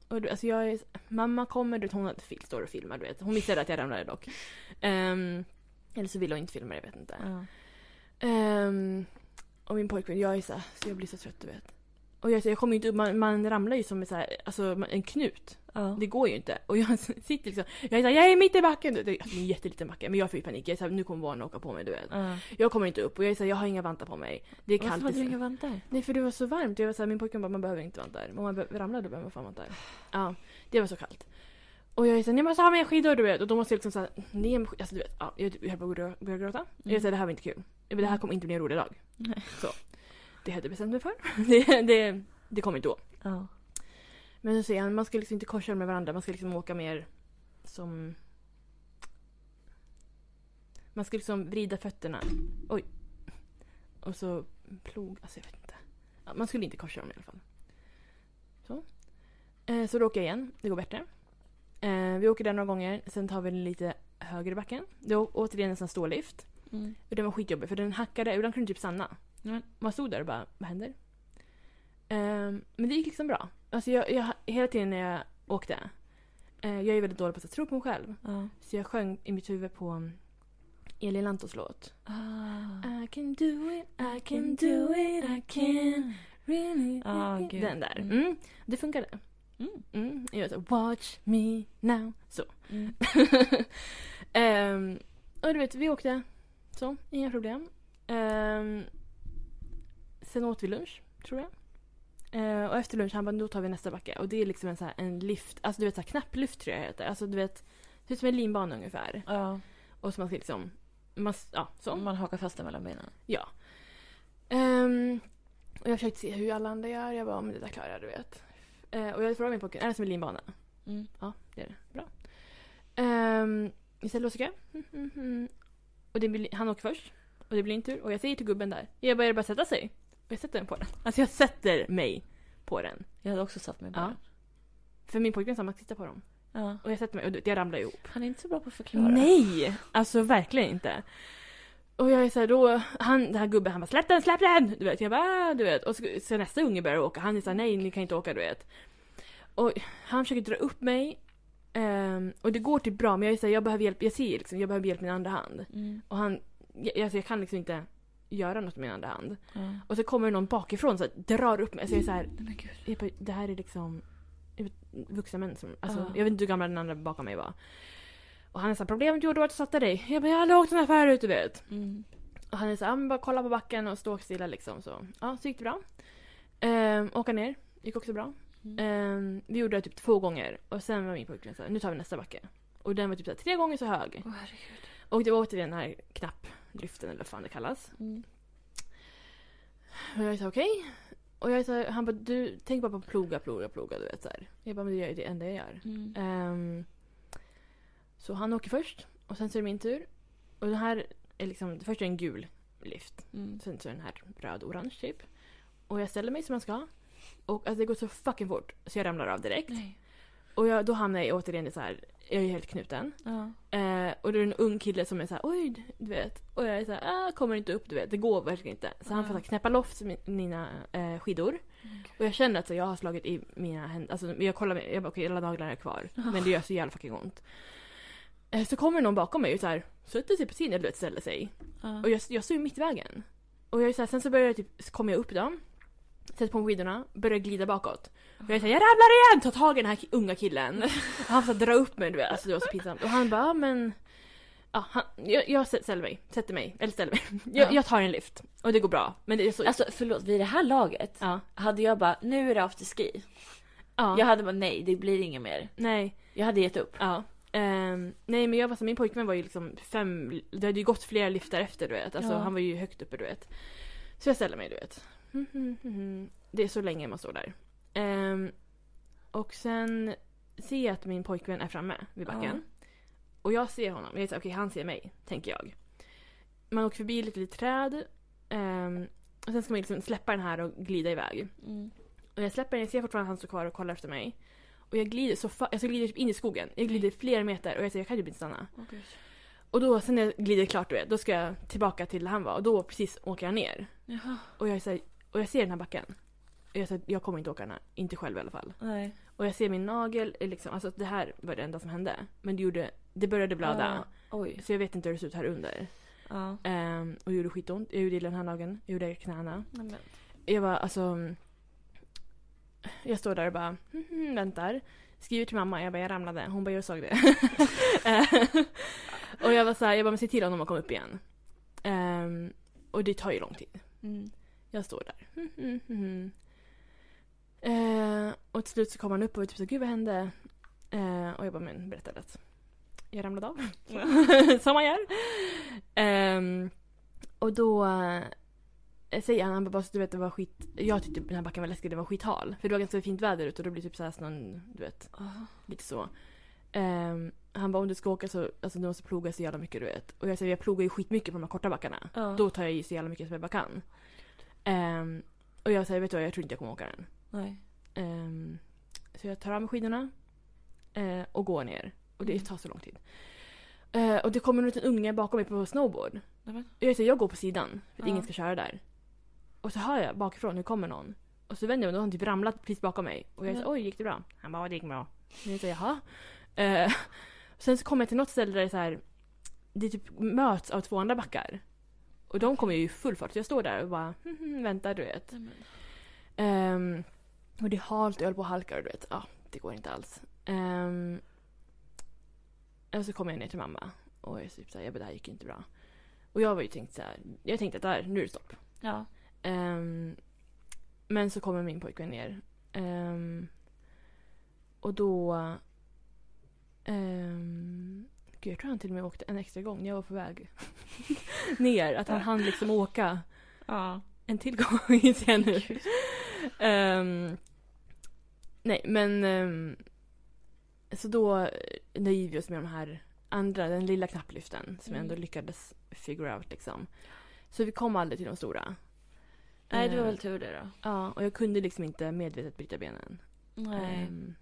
[SPEAKER 2] Och du, alltså jag är, mamma kommer, du vet, hon har- fil- står och filmar, du vet. Hon missade att jag ramlade dock. Ehm, eller så vill hon inte filma, jag vet inte.
[SPEAKER 1] Ja.
[SPEAKER 2] Ehm, och min pojkvän, jag är så, här, så jag blir så trött du vet. Och jag, jag kommer ju inte upp, man, man ramlar ju som en, så här, alltså, man- en knut.
[SPEAKER 1] Ja.
[SPEAKER 2] Det går ju inte. Och jag sitter liksom, jag är så här, jag är mitt i backen! Det är alltså, en jätteliten backe, men jag får ju panik. Jag är så här, nu kommer barnen åka på mig du vet.
[SPEAKER 1] Ja.
[SPEAKER 2] Jag kommer inte upp och jag är så här, jag har inga vantar på mig. Det är
[SPEAKER 1] Varför
[SPEAKER 2] kallt.
[SPEAKER 1] hade du inga
[SPEAKER 2] Liksom.
[SPEAKER 1] vantar?
[SPEAKER 2] Nej för det var så varmt. Jag var så här, min pojkvän bara, man behöver inte vantar. Om man be- ramlar då behöver man fan vantar. Ja, det var så kallt. Och jag är såhär, jag måste ha med skidor du vet. Och då måste jag liksom såhär, ner med skidor. Alltså du vet, ja, jag jag höll på att börja- börja gråta.
[SPEAKER 1] Mm.
[SPEAKER 2] Jag är såhär, det här var inte kul. Jag bara, Det här kommer inte bli en rolig dag.
[SPEAKER 1] Nej.
[SPEAKER 2] Så. Det hade jag bestämt mig för. Det, det, det kommer inte då.
[SPEAKER 1] Ja.
[SPEAKER 2] Men så säger han, man ska liksom inte korsa dem med varandra. Man ska liksom åka mer som... Man ska liksom vrida fötterna. Oj. Och så plog... Alltså jag vet inte. Ja, man skulle inte korsa dem i alla fall. Så. Eh, så då åker jag igen. Det går bättre. Eh, vi åker där några gånger. Sen tar vi den lite högre i backen. Det är å- återigen en sån här stålift.
[SPEAKER 1] Mm.
[SPEAKER 2] Och den var skitjobbig för den hackade. Ibland kunde den typ stanna.
[SPEAKER 1] Men-
[SPEAKER 2] Man stod där och bara, vad händer? Ehm, men det gick liksom bra. Alltså jag, jag, hela tiden när jag åkte. eh, jag är väldigt dålig på att tro på mig själv.
[SPEAKER 1] Ja.
[SPEAKER 2] Så jag sjöng i mitt huvud på um, Elin Lantos låt.
[SPEAKER 1] Ah. Mm.
[SPEAKER 2] I can do it, I can do it, I can really...
[SPEAKER 1] Ah,
[SPEAKER 2] I can.
[SPEAKER 1] gud.
[SPEAKER 2] Den där.
[SPEAKER 1] Mm.
[SPEAKER 2] Mm, det funkade.
[SPEAKER 1] Mm.
[SPEAKER 2] Mm, jag sa watch me now. Så.
[SPEAKER 1] Mm.
[SPEAKER 2] Ehm, och du vet, vi åkte. Så, inga problem. Ehm, sen åt vi lunch, tror jag. Ehm, och efter lunch, han bara, då tar vi nästa backe. Och det är liksom en, så här, en lift, alltså du vet så här, knapplift tror jag det heter. Alltså du vet, det ser ut som en linbana ungefär.
[SPEAKER 1] Ja.
[SPEAKER 2] Och så man ska liksom, man, s- ja så.
[SPEAKER 1] Man hakar fast den mellan benen.
[SPEAKER 2] Ja. Ehm, och jag försökte se hur alla andra gör. Jag bara, men det där klarar jag, du vet. Eh, och jag frågade min pojkvän, är det som en linbana?
[SPEAKER 1] Mm.
[SPEAKER 2] Ja, det är det. Bra. Um, istället åker jag. Mm, mm, mm. Och det blir, han åker först. Och det blir inte tur. Och jag säger till gubben där, jag bara, är det bara att sätta sig? Och jag sätter mig på den. Alltså jag sätter mig på den.
[SPEAKER 1] Jag hade också satt mig på
[SPEAKER 2] Ja.
[SPEAKER 1] den.
[SPEAKER 2] För min pojkvän sa, man ska sitta på dem.
[SPEAKER 1] Ja.
[SPEAKER 2] Och jag sätter mig och du vet, jag ramlar ihop.
[SPEAKER 1] Han är inte så bra på att förklara.
[SPEAKER 2] Nej! Alltså verkligen inte. Och jag är såhär då, han, den här gubben han bara släpp den, släpp den! Du vet, jag bara "Ah", du vet. Och så, så nästa unge börjar åka, han är såhär nej ni kan inte åka du vet. Och han försöker dra upp mig. ehm, och det går typ bra men jag är såhär jag behöver hjälp, jag ser liksom, jag behöver hjälp med min andra hand.
[SPEAKER 1] Mm.
[SPEAKER 2] Och han, jag, alltså, jag kan liksom inte göra något med min andra hand.
[SPEAKER 1] Ja.
[SPEAKER 2] Och så kommer det någon bakifrån så här, drar upp mig. Så jag är såhär,
[SPEAKER 1] Men gud.
[SPEAKER 2] jag bara, det här är liksom jag vet, vuxna män som, alltså,
[SPEAKER 1] Ja.
[SPEAKER 2] jag vet inte hur gamla den andra bakom mig var. Och han är såhär, problemet du gjorde var att du satte dig. Jag bara, jag har aldrig åkt den här förut du vet.
[SPEAKER 1] Mm.
[SPEAKER 2] Och han är så här, "Ja, men bara kolla på backen och stå stilla liksom. Så, ja, så gick det bra. Ehm, åka ner, gick också bra.
[SPEAKER 1] Mm.
[SPEAKER 2] Ehm, vi gjorde det typ två gånger och sen var min pojkvän såhär, nu tar vi nästa backe. Och den var typ så här, tre gånger så hög.
[SPEAKER 1] Åh, herregud.
[SPEAKER 2] Och det var återigen den här knappdriften eller vad fan det kallas.
[SPEAKER 1] Mm.
[SPEAKER 2] Och jag sa okej. Och jag sa, han bara du tänk bara på ploga, ploga, ploga du vet så här. Jag bara men det är ju det enda jag gör.
[SPEAKER 1] Mm.
[SPEAKER 2] Ehm, så han åker först och sen så är det min tur. Och den här är liksom, först är det en gul lift.
[SPEAKER 1] Mm.
[SPEAKER 2] Sen så är den här röd-orange typ. Och jag ställer mig som jag ska. Och alltså det går så fucking fort så jag ramlar av direkt.
[SPEAKER 1] Nej.
[SPEAKER 2] Och jag, då hamnar jag återigen i så här, jag är helt knuten.
[SPEAKER 1] Ja.
[SPEAKER 2] Eh, och då är det en ung kille som är så här, oj, du vet. Och jag är så här, ah, kommer inte upp, du vet. Det går verkligen inte. Så han får så här, knäppa loft min- mina eh, skidor. Och jag känner att så, jag har slagit i mina händer. Alltså jag kollar, jag bara okej, alla naglarna är kvar. Men det gör så jävla fucking ont. Eh, så kommer någon bakom mig och så här, sätter sig på sin, eller du vet, ställer sig.
[SPEAKER 1] Ja.
[SPEAKER 2] Och jag, jag står ju mitt i vägen. Och jag är så här, sen så börjar jag typ, så kommer jag upp dem. Sätter på mig skidorna, börjar glida bakåt. Och jag säger jag ramlar igen! Tar tag i den här ki- unga killen. Och han får dra upp mig du vet, alltså det var så pinsamt. Och han bara, "Ja, men... Ja, han, jag, jag sä- ställer mig, sätter mig, eller ställer mig. Jag,
[SPEAKER 1] Ja.
[SPEAKER 2] jag tar en lift. Och det går bra. Men det är så...
[SPEAKER 1] Alltså förlåt, vid det här laget
[SPEAKER 2] ja.
[SPEAKER 1] hade jag bara nu är det afterski.
[SPEAKER 2] ja.
[SPEAKER 1] Jag hade bara nej, det blir inget mer.
[SPEAKER 2] Nej.
[SPEAKER 1] Jag hade gett upp.
[SPEAKER 2] Ja. Ehm, nej men jag var så min pojkvän var ju liksom fem, det hade ju gått flera lyftar efter du vet. Alltså
[SPEAKER 1] Ja.
[SPEAKER 2] han var ju högt uppe du vet. Så jag ställer mig du vet. Mhm, mhm, mhm. Det är så länge man står där. Ehm, och sen ser jag att min pojkvän är framme vid backen. Och jag ser honom. Jag är såhär, okej han ser mig, tänker jag. Man åker förbi lite, lite träd. ehm, och sen ska man liksom släppa den här och glida iväg.
[SPEAKER 1] Mm.
[SPEAKER 2] Och jag släpper den, jag ser fortfarande att han står kvar och kollar efter mig. Och jag glider så fa- alltså jag glider typ in i skogen. Jag glider flera meter och jag säger jag kan typ inte stanna.
[SPEAKER 1] Åh, gud.
[SPEAKER 2] Och då, sen när jag glider klart du vet, då ska jag tillbaka till där han var och då precis åker jag ner.
[SPEAKER 1] Jaha.
[SPEAKER 2] Och jag, säger, och jag ser den här backen. Och jag säger jag kommer inte åka den här, inte själv i alla fall.
[SPEAKER 1] Nej.
[SPEAKER 2] Och jag ser min nagel, eh, liksom, alltså det här var det enda som hände. Men det gjorde, det började blöda.
[SPEAKER 1] Ja. Oj.
[SPEAKER 2] Så jag vet inte hur det ser ut här under.
[SPEAKER 1] Ja.
[SPEAKER 2] Ehm, och det gjorde skitont, jag gjorde illa den här nageln, jag gjorde knäna.
[SPEAKER 1] Nej, men.
[SPEAKER 2] Jag bara alltså... Jag står där och bara "Mhm, mhm", väntar. Skriver till mamma, jag bara jag ramlade. Hon bara jag såg det. Eh, och jag var så här, jag bara men se till honom att komma upp igen. Ehm, och det tar ju lång tid.
[SPEAKER 1] Mm.
[SPEAKER 2] Jag står där. "Mhm, mhm, mhm." Eh, och till slut så kom han upp och var typ så här, gud vad hände? Eh, och jag bara men berättade att jag ramlade av. Som man gör. Ehm, och då eh, säger han, han bara, bara så du vet det var skit, jag tyckte den här backen var läskig, det var skithal. För det var ganska fint väder ute och då blir det typ såhär snön, du vet,
[SPEAKER 1] Ja.
[SPEAKER 2] lite så. Ehm, han bara om du ska åka så, alltså du måste ploga så jävla mycket du vet. Och jag säger jag plogar ju skitmycket på de här korta backarna.
[SPEAKER 1] Ja.
[SPEAKER 2] Då tar jag i så jävla mycket som jag bara kan. Ehm, och jag säger vet du vad, jag tror inte jag kommer åka den.
[SPEAKER 1] Nej.
[SPEAKER 2] Ehm, så jag tar av mig skidorna eh, och går ner. Och det
[SPEAKER 1] Mm.
[SPEAKER 2] tar så lång tid. Eh, och det kommer en liten unge bakom mig på snowboard.
[SPEAKER 1] Nej, men.
[SPEAKER 2] Jag, säger, jag går på sidan för att
[SPEAKER 1] Ja.
[SPEAKER 2] ingen ska köra där. Och så hör jag bakifrån, nu kommer någon. Och så vänder jag mig och då har han typ ramlat precis bakom mig. Och jag
[SPEAKER 1] Ja.
[SPEAKER 2] säger oj gick det bra? Han bara det gick bra. Och jag säger jaha. Eh, sen så kommer jag till något ställe där det är så här, det typ möts av två andra backar. Och de kommer ju i full fart. Så jag står där och bara "Mhm, mhm", väntar du vet.
[SPEAKER 1] Nej, men.
[SPEAKER 2] Ehm, och det är halt och jag höll på att halka och du vet, ja, det går inte alls. Ehm, och så kom jag ner till mamma och jag typ såhär, jag bara, det här gick inte bra. Och jag var ju tänkt såhär, jag tänkte att där, nu är det stopp.
[SPEAKER 1] Ja.
[SPEAKER 2] Ehm, men så kommer min pojkvän ner. Ehm, och då... ehm, gud, jag tror han till och med åkte en extra gång när jag var på väg ner. Att han hann liksom åka
[SPEAKER 1] Ja.
[SPEAKER 2] en till gång, inser jag nu. Ehm, nej, men... ehm, så då eh, nöjer vi oss med de här andra, den lilla knapplyften som jag ändå
[SPEAKER 1] Mm.
[SPEAKER 2] lyckades figure out liksom. Så vi kom aldrig till de stora.
[SPEAKER 1] Nej, det var
[SPEAKER 2] Eh,
[SPEAKER 1] väl tur det då.
[SPEAKER 2] Ja, och jag kunde liksom inte medvetet bryta benen.
[SPEAKER 1] Nej.
[SPEAKER 2] Ehm,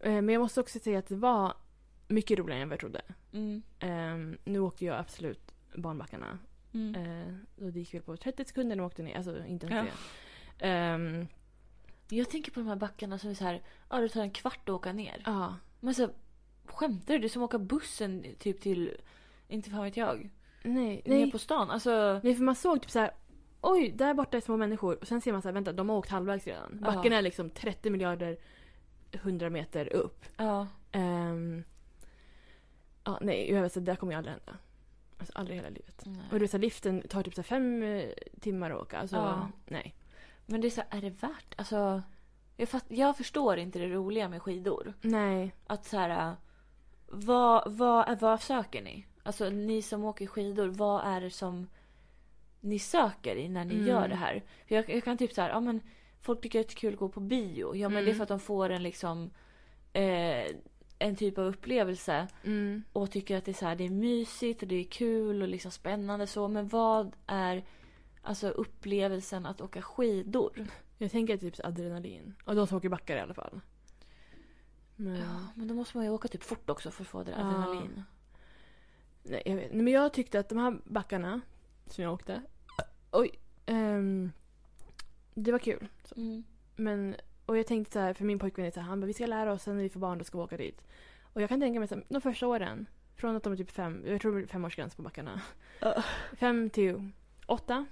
[SPEAKER 2] eh, men jag måste också säga att det var mycket roligare än vad jag trodde.
[SPEAKER 1] Mm.
[SPEAKER 2] Ehm, nu åkte jag absolut barnbackarna.
[SPEAKER 1] Mm.
[SPEAKER 2] Eh, och det gick väl på 30 sekunder när de åkte ner. Alltså inte ens
[SPEAKER 1] Ja.
[SPEAKER 2] det. Ehm,
[SPEAKER 1] Jag tänker på de här backarna som är så här, ja det tar en kvart att åka ner.
[SPEAKER 2] ja.
[SPEAKER 1] Men så här, skämtar du? Det är som att åka bussen typ till, inte fan vet jag,
[SPEAKER 2] Nej,
[SPEAKER 1] ner
[SPEAKER 2] nej.
[SPEAKER 1] på stan. Alltså,
[SPEAKER 2] nej, för man såg typ så här. Oj, där borta är små människor. Och sen ser man så här, vänta, de har åkt halvvägs redan.
[SPEAKER 1] Ja.
[SPEAKER 2] Backen är liksom 30 miljarder 100 meter upp.
[SPEAKER 1] ja.
[SPEAKER 2] Ehm, ja, nej, jag vet, så där kommer ju aldrig hända. Alltså aldrig i hela livet. Och
[SPEAKER 1] Nej.
[SPEAKER 2] du vet, så här, liften tar typ så här fem eh, timmar att åka. Alltså,
[SPEAKER 1] Ja.
[SPEAKER 2] nej.
[SPEAKER 1] Men det är så här, är det värt? Alltså, jag, fatt, jag förstår inte det roliga med skidor.
[SPEAKER 2] Nej.
[SPEAKER 1] Att så här, äh, vad, vad, är- vad söker ni? Alltså ni som åker skidor, vad är det som ni söker i när ni
[SPEAKER 2] Mm.
[SPEAKER 1] gör det här? För jag, jag kan typ så här, ja men folk tycker att det är kul att gå på bio. Ja men
[SPEAKER 2] Mm.
[SPEAKER 1] det är för att de får en liksom eh, en typ av upplevelse
[SPEAKER 2] Mm.
[SPEAKER 1] och tycker att det är, så här, det är mysigt och det är kul och liksom spännande så. Men vad är alltså upplevelsen att åka skidor?
[SPEAKER 2] Jag tänker typ så adrenalin. Och de som åker backar i alla fall. Men,
[SPEAKER 1] Ja, men då måste man ju åka typ fort också för att få det där
[SPEAKER 2] Ja.
[SPEAKER 1] adrenalin.
[SPEAKER 2] nej, jag vet. Nej, men jag tyckte att de här backarna som jag åkte. Oj. ehm, det var kul. Så.
[SPEAKER 1] Mm.
[SPEAKER 2] Men, och jag tänkte så här, för min pojkvän är så här, han bara, vi ska lära oss sen när vi får barn då ska vi åka dit. Och jag kan tänka mig så här, de första åren. Från att de är typ fem, jag tror det är femårsgräns på backarna.
[SPEAKER 1] Ja.
[SPEAKER 2] Fem till åtta.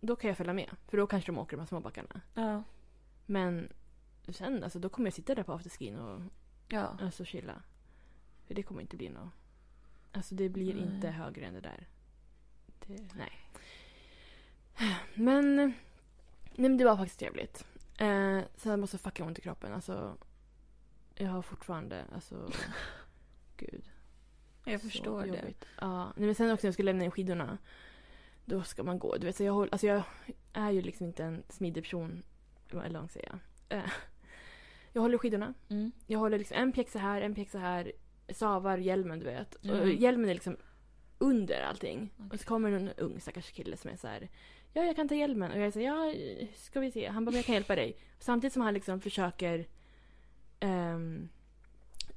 [SPEAKER 2] Då kan jag följa med. För då kanske de åker de här små backarna.
[SPEAKER 1] Ja.
[SPEAKER 2] Men sen alltså, då kommer jag sitta där på afterskin och
[SPEAKER 1] Ja.
[SPEAKER 2] Alltså chilla. För det kommer inte bli något. Alltså det blir
[SPEAKER 1] Nej.
[SPEAKER 2] inte högre än det där. Det, nej. Men, nej men det var faktiskt trevligt. Eh, sen måste jag fucka ont i kroppen. Alltså, jag har fortfarande, alltså, gud.
[SPEAKER 1] Jag
[SPEAKER 2] så
[SPEAKER 1] förstår det.
[SPEAKER 2] jobbigt. Ja, nej, men sen också när jag skulle lämna in skidorna. Då ska man gå. Du vet, så jag, håll, alltså jag är ju liksom inte en smidig person. Eller vad man ska säga. Eh, jag håller i skidorna.
[SPEAKER 1] Mm.
[SPEAKER 2] Jag håller liksom en pjäxa här, en pjäxa här. Savar hjälmen, du vet. Och
[SPEAKER 1] Mm.
[SPEAKER 2] hjälmen är liksom under allting. Och
[SPEAKER 1] Okej.
[SPEAKER 2] så kommer en ung stackars kille som är så här. Ja, jag kan ta hjälmen. Och jag säger ja, ska vi se. Han bara, men jag kan hjälpa dig. Samtidigt som han liksom försöker ehm,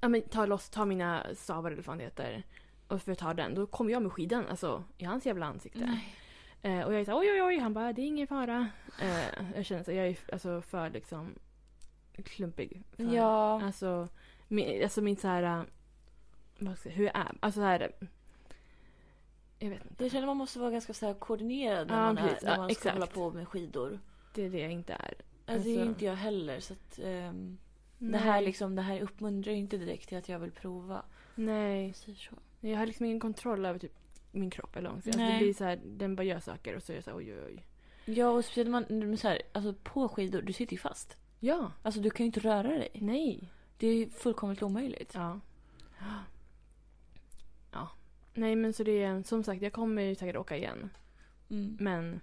[SPEAKER 2] ja, men ta loss, ta mina stavar eller vad fan det heter. Och för att ta den, då kommer jag med skidan alltså, i hans jävla ansikte. Eh, och jag är såhär oj oj oj, han bara det är ingen fara. Eh, jag känner så jag är alltså för liksom klumpig. För,
[SPEAKER 1] Ja.
[SPEAKER 2] Alltså min, alltså min så här, eh, vad ska jag, hur jag är. Alltså så här, eh, jag vet inte.
[SPEAKER 1] Jag känner man måste vara ganska så här koordinerad när
[SPEAKER 2] Ja,
[SPEAKER 1] man,
[SPEAKER 2] precis.
[SPEAKER 1] är, när
[SPEAKER 2] Ja,
[SPEAKER 1] man ska
[SPEAKER 2] exakt.
[SPEAKER 1] hålla på med skidor.
[SPEAKER 2] Det är det jag inte är.
[SPEAKER 1] Alltså, det är
[SPEAKER 2] Alltså-
[SPEAKER 1] ju inte jag heller. Så att, ehm, det, här liksom, det här uppmuntrar ju inte direkt till att jag vill prova.
[SPEAKER 2] Nej,
[SPEAKER 1] Jag säger så.
[SPEAKER 2] jag har liksom ingen kontroll över typ min kropp eller någonting. Alltså, det
[SPEAKER 1] Nej.
[SPEAKER 2] blir så här, den bara gör saker och så är jag så här, oj oj oj.
[SPEAKER 1] Ja, och speciellt när man, men så här, alltså, på skidor, du sitter ju fast.
[SPEAKER 2] Ja,
[SPEAKER 1] Alltså du kan ju inte röra dig.
[SPEAKER 2] nej.
[SPEAKER 1] Det är ju fullkomligt omöjligt.
[SPEAKER 2] Ja. Ja. Nej men så det är, som sagt jag kommer ju säkert åka igen.
[SPEAKER 1] Mm.
[SPEAKER 2] Men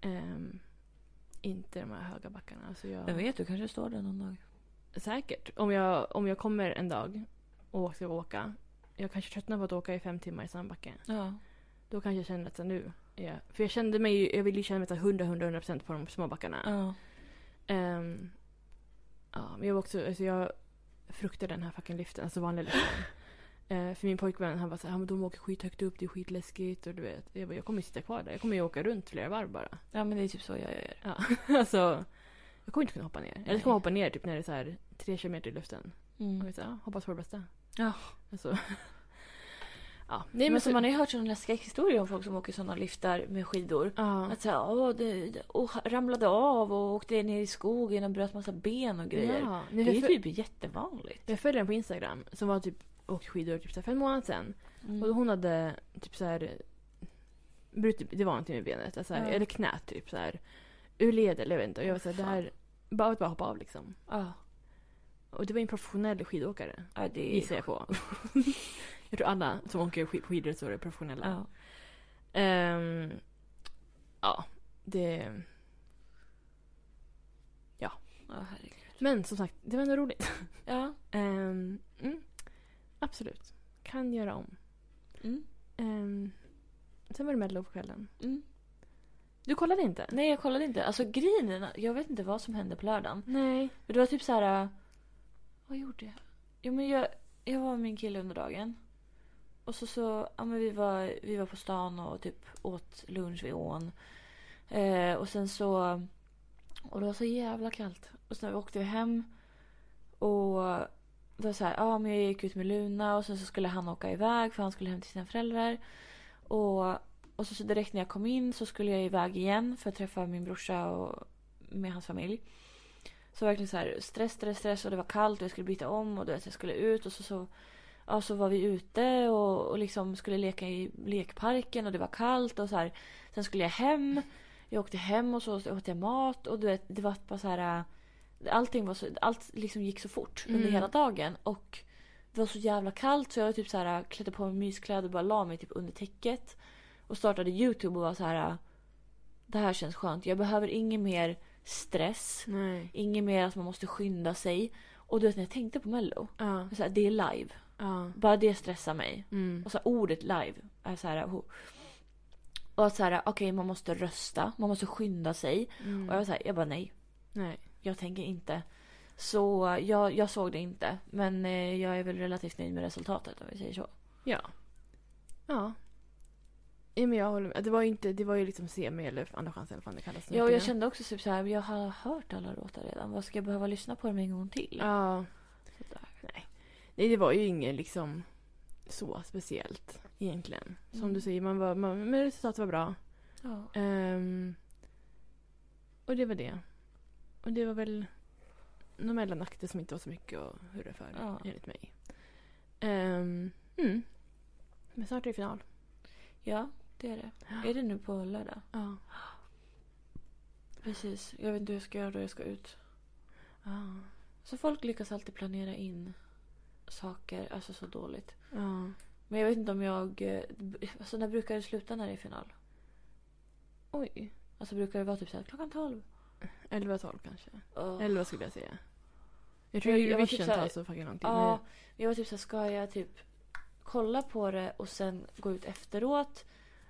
[SPEAKER 2] ehm, inte de här höga backarna. Alltså jag,
[SPEAKER 1] Vem vet, du kanske står där någon dag.
[SPEAKER 2] Säkert. Om jag, om jag kommer en dag och ska åka. Jag kanske tröttnar på att åka i fem timmar i samma backe.
[SPEAKER 1] Ja.
[SPEAKER 2] Då kanske jag känner att så nu är jag... För jag kände mig ju- jag ville ju känna mig så här 100, 100, 100 procent på de små backarna.
[SPEAKER 1] ja.
[SPEAKER 2] Ehm, ja, men jag var också, alltså jag fruktar den här fucking liften, alltså vanliga liften. Eh, för min pojkvän han var såhär, men de åker skithögt upp, det är skitläskigt och du vet. Jag bara, jag kommer ju sitta kvar där, jag kommer ju åka runt flera varv bara.
[SPEAKER 1] Ja, men det är typ så jag gör.
[SPEAKER 2] Ja, alltså. Jag kommer inte kunna hoppa ner. Eller så
[SPEAKER 1] Nej.
[SPEAKER 2] kommer jag hoppa ner typ när det är såhär tre kilometer i luften. Och
[SPEAKER 1] Mm.
[SPEAKER 2] jag såhär, ja, hoppas på det bästa.
[SPEAKER 1] Ja.
[SPEAKER 2] Alltså. ja, nej men, alltså,
[SPEAKER 1] men
[SPEAKER 2] så
[SPEAKER 1] så man har ju hört sådana läskiga historier om folk som åker sådana liftar med skidor.
[SPEAKER 2] Ja.
[SPEAKER 1] Att såhär, åh, det, det- och ramlade av och åkte ner i skogen och bröt massa ben och grejer.
[SPEAKER 2] Ja,
[SPEAKER 1] Det är
[SPEAKER 2] nej, jag,
[SPEAKER 1] ju
[SPEAKER 2] föl-
[SPEAKER 1] typ jättevanligt.
[SPEAKER 2] jag följer en på Instagram som var typ åkt skidor typ så här fem månader sedan.
[SPEAKER 1] Mm.
[SPEAKER 2] Och hon hade typ så här brutit, det var någonting med benet, alltså här,
[SPEAKER 1] Ja.
[SPEAKER 2] eller knät typ så här ur led eller jag vet inte. Och jag var såhär, det
[SPEAKER 1] Fan.
[SPEAKER 2] här, bara att bara hoppa av liksom.
[SPEAKER 1] Ja,
[SPEAKER 2] Och det var en professionell skidåkare,
[SPEAKER 1] ja, det
[SPEAKER 2] gissar
[SPEAKER 1] är...
[SPEAKER 2] jag på. jag tror alla som åker skid- skidor så är professionella.
[SPEAKER 1] Ja.
[SPEAKER 2] Ehm, ja, det...
[SPEAKER 1] ja, herregud.
[SPEAKER 2] Men som sagt, det var ändå roligt.
[SPEAKER 1] Ja.
[SPEAKER 2] Ehm, mm, absolut. Kan göra om.
[SPEAKER 1] Mm.
[SPEAKER 2] Ehm, sen var det Mello på kvällen.
[SPEAKER 1] Mm.
[SPEAKER 2] Du kollade inte?
[SPEAKER 1] Nej, jag kollade inte. Alltså grejen är- jag vet inte vad som hände på lördagen.
[SPEAKER 2] Nej.
[SPEAKER 1] Men det var typ så här. äh, Vad gjorde jag? Jo, men jag, jag var med min kille under dagen. Och så, så ja, men vi, var, vi var på stan och typ åt lunch vid ån. Eh, och sen så... Och det var så jävla kallt. Och sen åkte vi hem. Och det var så här, ja men jag gick ut med Luna och sen så skulle han åka iväg för han skulle hem till sina föräldrar. Och, och så, så direkt när jag kom in så skulle jag iväg igen för att träffa min brorsa och med hans familj. Så verkligen så här stress, stress, stress och det var kallt och jag skulle byta om och du vet jag skulle ut och så, så, ja, så var vi ute och, och liksom skulle leka i lekparken och det var kallt och så här. Sen skulle jag hem. Jag åkte hem och så åt jag mat och du vet det var bara så här. äh, Allting var så, allt liksom gick så fort under
[SPEAKER 2] Mm.
[SPEAKER 1] hela dagen och det var så jävla kallt så jag typ så här äh, klädde på mig myskläder och bara la mig typ under täcket. Och startade YouTube och var så här. äh, Det här känns skönt. Jag behöver ingen mer stress.
[SPEAKER 2] Nej.
[SPEAKER 1] Inget mer att man måste skynda sig. Och du vet när jag tänkte på mello.
[SPEAKER 2] Ja.
[SPEAKER 1] Så här, det är live.
[SPEAKER 2] Ja.
[SPEAKER 1] Bara det stressar mig.
[SPEAKER 2] Mm.
[SPEAKER 1] Och så här, ordet live är så här... Oh. Och att så här, okej man måste rösta. Man måste skynda sig.
[SPEAKER 2] Mm.
[SPEAKER 1] Och jag var så här, jag bara nej.
[SPEAKER 2] Nej.
[SPEAKER 1] Jag tänker inte. Så jag, jag såg det inte. Men eh, jag är väl relativt nöjd med resultatet om vi säger så.
[SPEAKER 2] Ja. Ja. Ja, men jag håller med. Det var ju inte, det var ju liksom semi eller andra chansen eller vad fan det kallas.
[SPEAKER 1] Ja, och jag kände också typ så här, men jag har hört alla låtar redan. Vad ska jag behöva lyssna på dem en gång till?
[SPEAKER 2] Ja.
[SPEAKER 1] Så där.
[SPEAKER 2] Nej, det var ju inget liksom så speciellt egentligen. Som
[SPEAKER 1] Mm.
[SPEAKER 2] du säger, man var, man, men resultatet var bra.
[SPEAKER 1] Ja.
[SPEAKER 2] Ehm, och det var det. Och det var väl några mellanakter som inte var så mycket att hurra för,
[SPEAKER 1] Ja.
[SPEAKER 2] enligt mig. Ehm, mm. Men snart är det final.
[SPEAKER 1] ja, det är det. Är det nu på lördag?
[SPEAKER 2] Ja.
[SPEAKER 1] Precis. Jag vet inte hur jag ska göra då jag ska ut.
[SPEAKER 2] Ja.
[SPEAKER 1] Så folk lyckas alltid planera in saker, alltså så dåligt.
[SPEAKER 2] ja.
[SPEAKER 1] Men jag vet inte om jag... eh, Alltså när brukar det sluta när det är final?
[SPEAKER 2] Oj.
[SPEAKER 1] Alltså brukar det vara typ såhär klockan tolv?
[SPEAKER 2] 11-12 kanske.
[SPEAKER 1] Oh.
[SPEAKER 2] Eller typ, vad skulle jag säga? Jag tror
[SPEAKER 1] Jag- jag var
[SPEAKER 2] Eurovision
[SPEAKER 1] typ såhär-
[SPEAKER 2] tar så fucking lång tid.
[SPEAKER 1] Ja,
[SPEAKER 2] men-
[SPEAKER 1] jag var typ såhär, ska jag typ kolla på det och sen gå ut efteråt?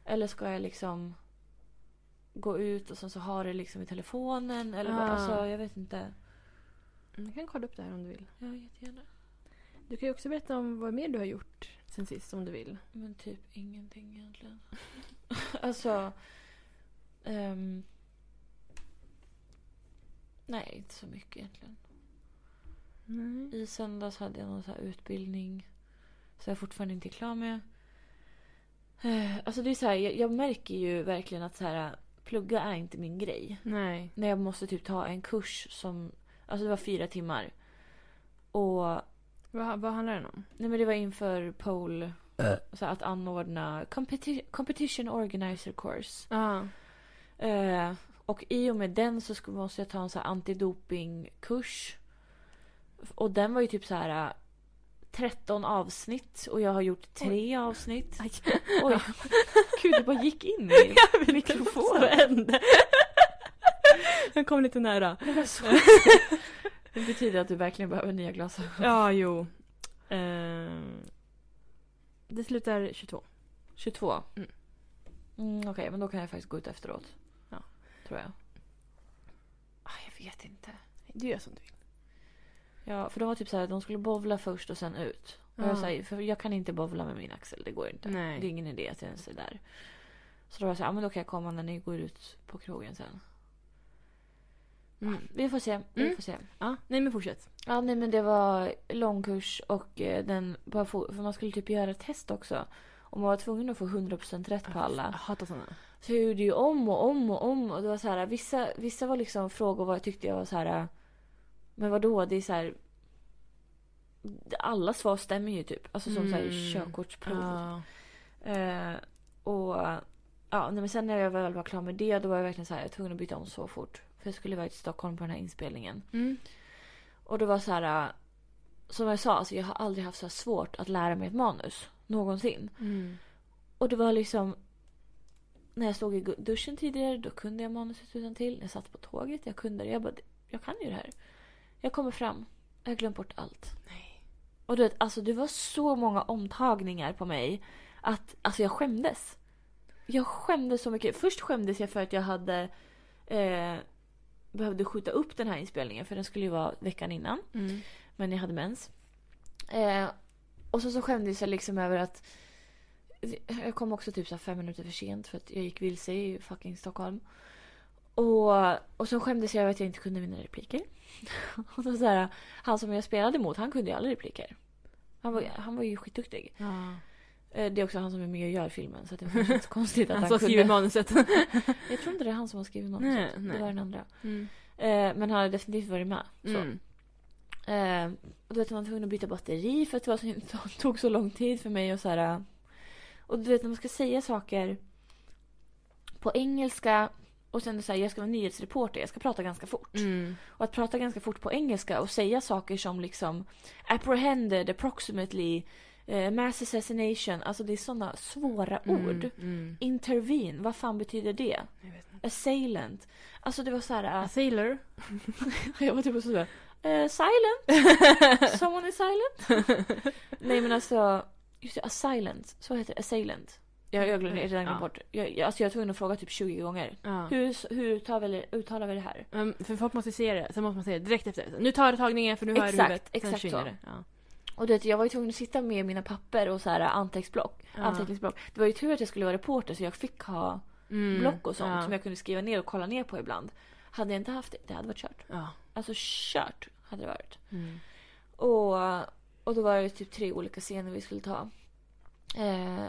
[SPEAKER 1] Eller ska jag liksom gå ut och sen så ha det liksom i telefonen? Eller vad?
[SPEAKER 2] Ah.
[SPEAKER 1] Alltså jag vet inte.
[SPEAKER 2] mm, Du kan kolla upp det här om du vill.
[SPEAKER 1] Ja, jättegärna.
[SPEAKER 2] Du kan ju också berätta om vad mer du har gjort sen sist om du vill.
[SPEAKER 1] Men typ ingenting egentligen. alltså... ehm, nej, inte så mycket egentligen.
[SPEAKER 2] Nej.
[SPEAKER 1] I söndags hade jag någon så här utbildning som jag fortfarande inte är klar med. Eh, Alltså det är så här, jag, jag märker ju verkligen att så här, plugga är inte min grej.
[SPEAKER 2] Nej.
[SPEAKER 1] När jag måste typ ta en kurs som... Alltså det var fyra timmar. Och
[SPEAKER 2] Vad, vad handlar den om?
[SPEAKER 1] Nej men det var inför pole. Så att anordna competi- competition organizer course.
[SPEAKER 2] Ja.
[SPEAKER 1] Eh, och i och med den så skulle, måste jag ta en så här antidopingkurs. Och den var ju typ så här eh, 13 avsnitt och jag har gjort tre avsnitt.
[SPEAKER 2] Aj.
[SPEAKER 1] Oj, gud det bara gick in i mikrofonen.
[SPEAKER 2] hände? Den kom lite nära.
[SPEAKER 1] Det var så- Det betyder att du verkligen behöver nya glasögon.
[SPEAKER 2] Ja, jo. Ehm, det slutar 22.
[SPEAKER 1] 22.
[SPEAKER 2] Mm.
[SPEAKER 1] Mm, Okej, men då kan jag faktiskt gå ut efteråt.
[SPEAKER 2] Ja.
[SPEAKER 1] Tror jag. Ah, jag vet inte.
[SPEAKER 2] Du gör som du vill.
[SPEAKER 1] Ja, för de var typ såhär, de skulle bovla först och sen ut. Och
[SPEAKER 2] Ja.
[SPEAKER 1] jag, såhär, för jag kan inte bovla med min axel, det går inte.
[SPEAKER 2] Nej.
[SPEAKER 1] Det är ingen idé att jag ens är där. Så då var jag såhär, ja men då kan jag komma när ni går ut på krogen sen. Ah,
[SPEAKER 2] Mm.
[SPEAKER 1] Vi får se, vi
[SPEAKER 2] Mm.
[SPEAKER 1] får se.
[SPEAKER 2] Ja, nej men fortsätt.
[SPEAKER 1] Ja nej men det var långkurs och eh, den, bara få- för man skulle typ göra ett test också. Och man var tvungen att få 100% rätt på
[SPEAKER 2] Jag
[SPEAKER 1] alla.
[SPEAKER 2] hatar sådana.
[SPEAKER 1] Så jag gjorde ju om och om och om. Och det var så här, vissa, vissa var liksom frågor vad jag tyckte jag var så här. Men vadå, det är så här. Alla svar stämmer ju typ. Alltså som så här
[SPEAKER 2] Mm.
[SPEAKER 1] körkortsprov.
[SPEAKER 2] Ja.
[SPEAKER 1] Eh, och ja, nej, men sen när jag väl var klar med det då var jag verkligen så här, jag var tvungen att byta om så fort. För jag skulle iväg till Stockholm på den här inspelningen.
[SPEAKER 2] Mm.
[SPEAKER 1] Och det var så här. eh, Som jag sa, alltså, jag har aldrig haft så här svårt att lära mig ett manus. Någonsin.
[SPEAKER 2] Mm.
[SPEAKER 1] Och det var liksom... När jag stod i gu- duschen tidigare då kunde jag manuset utan till. När jag satt på tåget, jag kunde det. Jag bara, jag kan ju det här. Jag kommer fram. Jag har glömt bort allt.
[SPEAKER 2] Nej.
[SPEAKER 1] Och du vet, alltså det var så många omtagningar på mig att alltså jag skämdes. Jag skämdes så mycket. Först skämdes jag för att jag hade eh, behövde skjuta upp den här inspelningen för den skulle ju vara veckan innan.
[SPEAKER 2] Mm.
[SPEAKER 1] Men jag hade mens. Eh, och så, så skämdes jag liksom över att jag kom också typ så här fem minuter för sent för att jag gick vilse i fucking Stockholm. Och, och så skämdes jag över att jag inte kunde mina repliker. Och då så här, han som jag spelade mot, han kunde ju alla repliker. Han
[SPEAKER 2] Mm.
[SPEAKER 1] var, han var ju skitduktig.
[SPEAKER 2] Ja.
[SPEAKER 1] Eh, Det är också han som är med och gör filmen så att det var kanske inte så konstigt att
[SPEAKER 2] Han
[SPEAKER 1] han,
[SPEAKER 2] som skriver
[SPEAKER 1] kunde.
[SPEAKER 2] manuset.
[SPEAKER 1] Jag tror inte det är han som har skrivit något.
[SPEAKER 2] Nej,
[SPEAKER 1] Det
[SPEAKER 2] nej.
[SPEAKER 1] var den andra.
[SPEAKER 2] Mm.
[SPEAKER 1] Eh, Men han har definitivt varit med. Så.
[SPEAKER 2] Mm.
[SPEAKER 1] Eh, och då vet man var tvungen att byta batteri för att det var så, tog så lång tid för mig. Och, så här, eh, och du vet när man ska säga saker på engelska och sen så här, jag ska vara nyhetsreporter, jag ska prata ganska fort.
[SPEAKER 2] Mm.
[SPEAKER 1] Och att prata ganska fort på engelska och säga saker som liksom apprehended, approximately, eh, mass assassination. Alltså det är sådana svåra ord.
[SPEAKER 2] Mm.
[SPEAKER 1] Intervene, vad fan betyder det?
[SPEAKER 2] Jag vet inte.
[SPEAKER 1] Assailant. Alltså det var så här... eh,
[SPEAKER 2] A sailor.
[SPEAKER 1] jag var typ sådär, eh, silent. Someone is silent. Nej men alltså, just det, assailant. Så heter det, assailant. Jag har ögonen
[SPEAKER 2] Mm,
[SPEAKER 1] redan glömt
[SPEAKER 2] ja.
[SPEAKER 1] bort. Jag, jag, alltså jag var tvungen att fråga typ 20 gånger.
[SPEAKER 2] Ja.
[SPEAKER 1] Hur, hur uttalar, vi, uttalar vi det här?
[SPEAKER 2] Men Ehm, för folk måste se det, sen måste man säga det direkt efter. Nu tar jag tagningen för nu har jag det i
[SPEAKER 1] Exakt,
[SPEAKER 2] huvudet. Sen
[SPEAKER 1] exakt
[SPEAKER 2] försvinner
[SPEAKER 1] så.
[SPEAKER 2] det. Ja.
[SPEAKER 1] Och du vet, jag var ju tvungen att sitta med mina papper och så här eh, anteckningsblock.
[SPEAKER 2] Ja.
[SPEAKER 1] anteckningsblock. Det var ju tur att jag skulle vara reporter så jag fick ha
[SPEAKER 2] Mm.
[SPEAKER 1] block och sånt
[SPEAKER 2] ja.
[SPEAKER 1] som jag kunde skriva ner och kolla ner på ibland. Hade jag inte haft det, det hade varit kört.
[SPEAKER 2] Ja.
[SPEAKER 1] Alltså kört hade det varit.
[SPEAKER 2] Mm.
[SPEAKER 1] Och, och då var det typ tre olika scener vi skulle ta. Eh,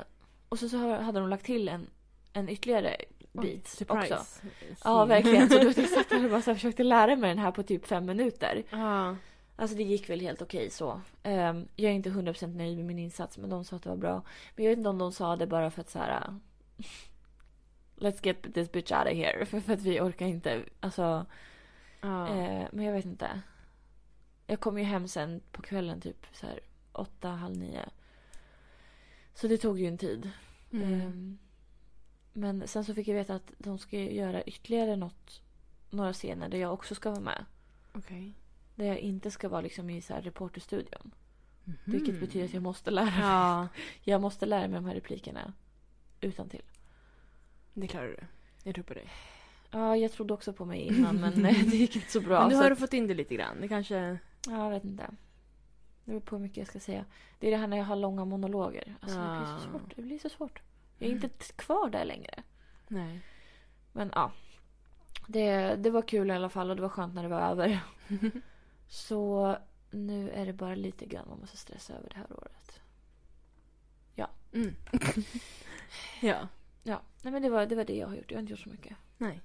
[SPEAKER 1] och så, så har- hade de lagt till en, en ytterligare bit
[SPEAKER 2] Surprise.
[SPEAKER 1] också.
[SPEAKER 2] Scene.
[SPEAKER 1] Ja, verkligen. Så då satt jag och bara så här, försökte lära mig den här på typ fem minuter.
[SPEAKER 2] Ja.
[SPEAKER 1] Alltså det gick väl helt okej så. Ehm, jag är inte 100% nöjd med min insats men de sa att det var bra. Men jag vet inte om de sa det bara för att så här. äh, Let's get this bitch out of here. För, för att vi orkar inte. Alltså,
[SPEAKER 2] Ja.
[SPEAKER 1] eh, men jag vet inte. Jag kom ju hem sen på kvällen typ så här åtta, halv nio. Så det tog ju en tid.
[SPEAKER 2] Mm.
[SPEAKER 1] Ehm, Men sen så fick jag veta att de ska ju göra ytterligare något, några scener där jag också ska vara med.
[SPEAKER 2] Okej.
[SPEAKER 1] Där jag inte ska vara liksom i så här reporterstudion.
[SPEAKER 2] Mhm.
[SPEAKER 1] Vilket betyder att jag måste lära mig.
[SPEAKER 2] Ja,
[SPEAKER 1] Jag måste lära mig de här replikerna utan till.
[SPEAKER 2] det klarar du. Jag tror på dig.
[SPEAKER 1] Ja, jag trodde också på mig innan men eh, det gick inte så bra.
[SPEAKER 2] Men nu
[SPEAKER 1] så
[SPEAKER 2] har du
[SPEAKER 1] att,
[SPEAKER 2] fått in det lite grann. Det kanske...
[SPEAKER 1] ja, jag vet inte. Det beror på hur mycket jag ska säga. Det är det här när jag har långa monologer. Alltså det blir så
[SPEAKER 2] Ja.
[SPEAKER 1] svårt. Det blir så svårt. Jag är inte
[SPEAKER 2] Mm.
[SPEAKER 1] t- kvar där längre.
[SPEAKER 2] Nej.
[SPEAKER 1] Men ja. Det, det var kul i alla fall och det var skönt när det var över. så nu är det bara lite grann man måste stressa över det här året.
[SPEAKER 2] Mm. ja.
[SPEAKER 1] Ja, nej men det var, det var det jag har gjort. Jag har inte gjort så mycket.
[SPEAKER 2] Nej.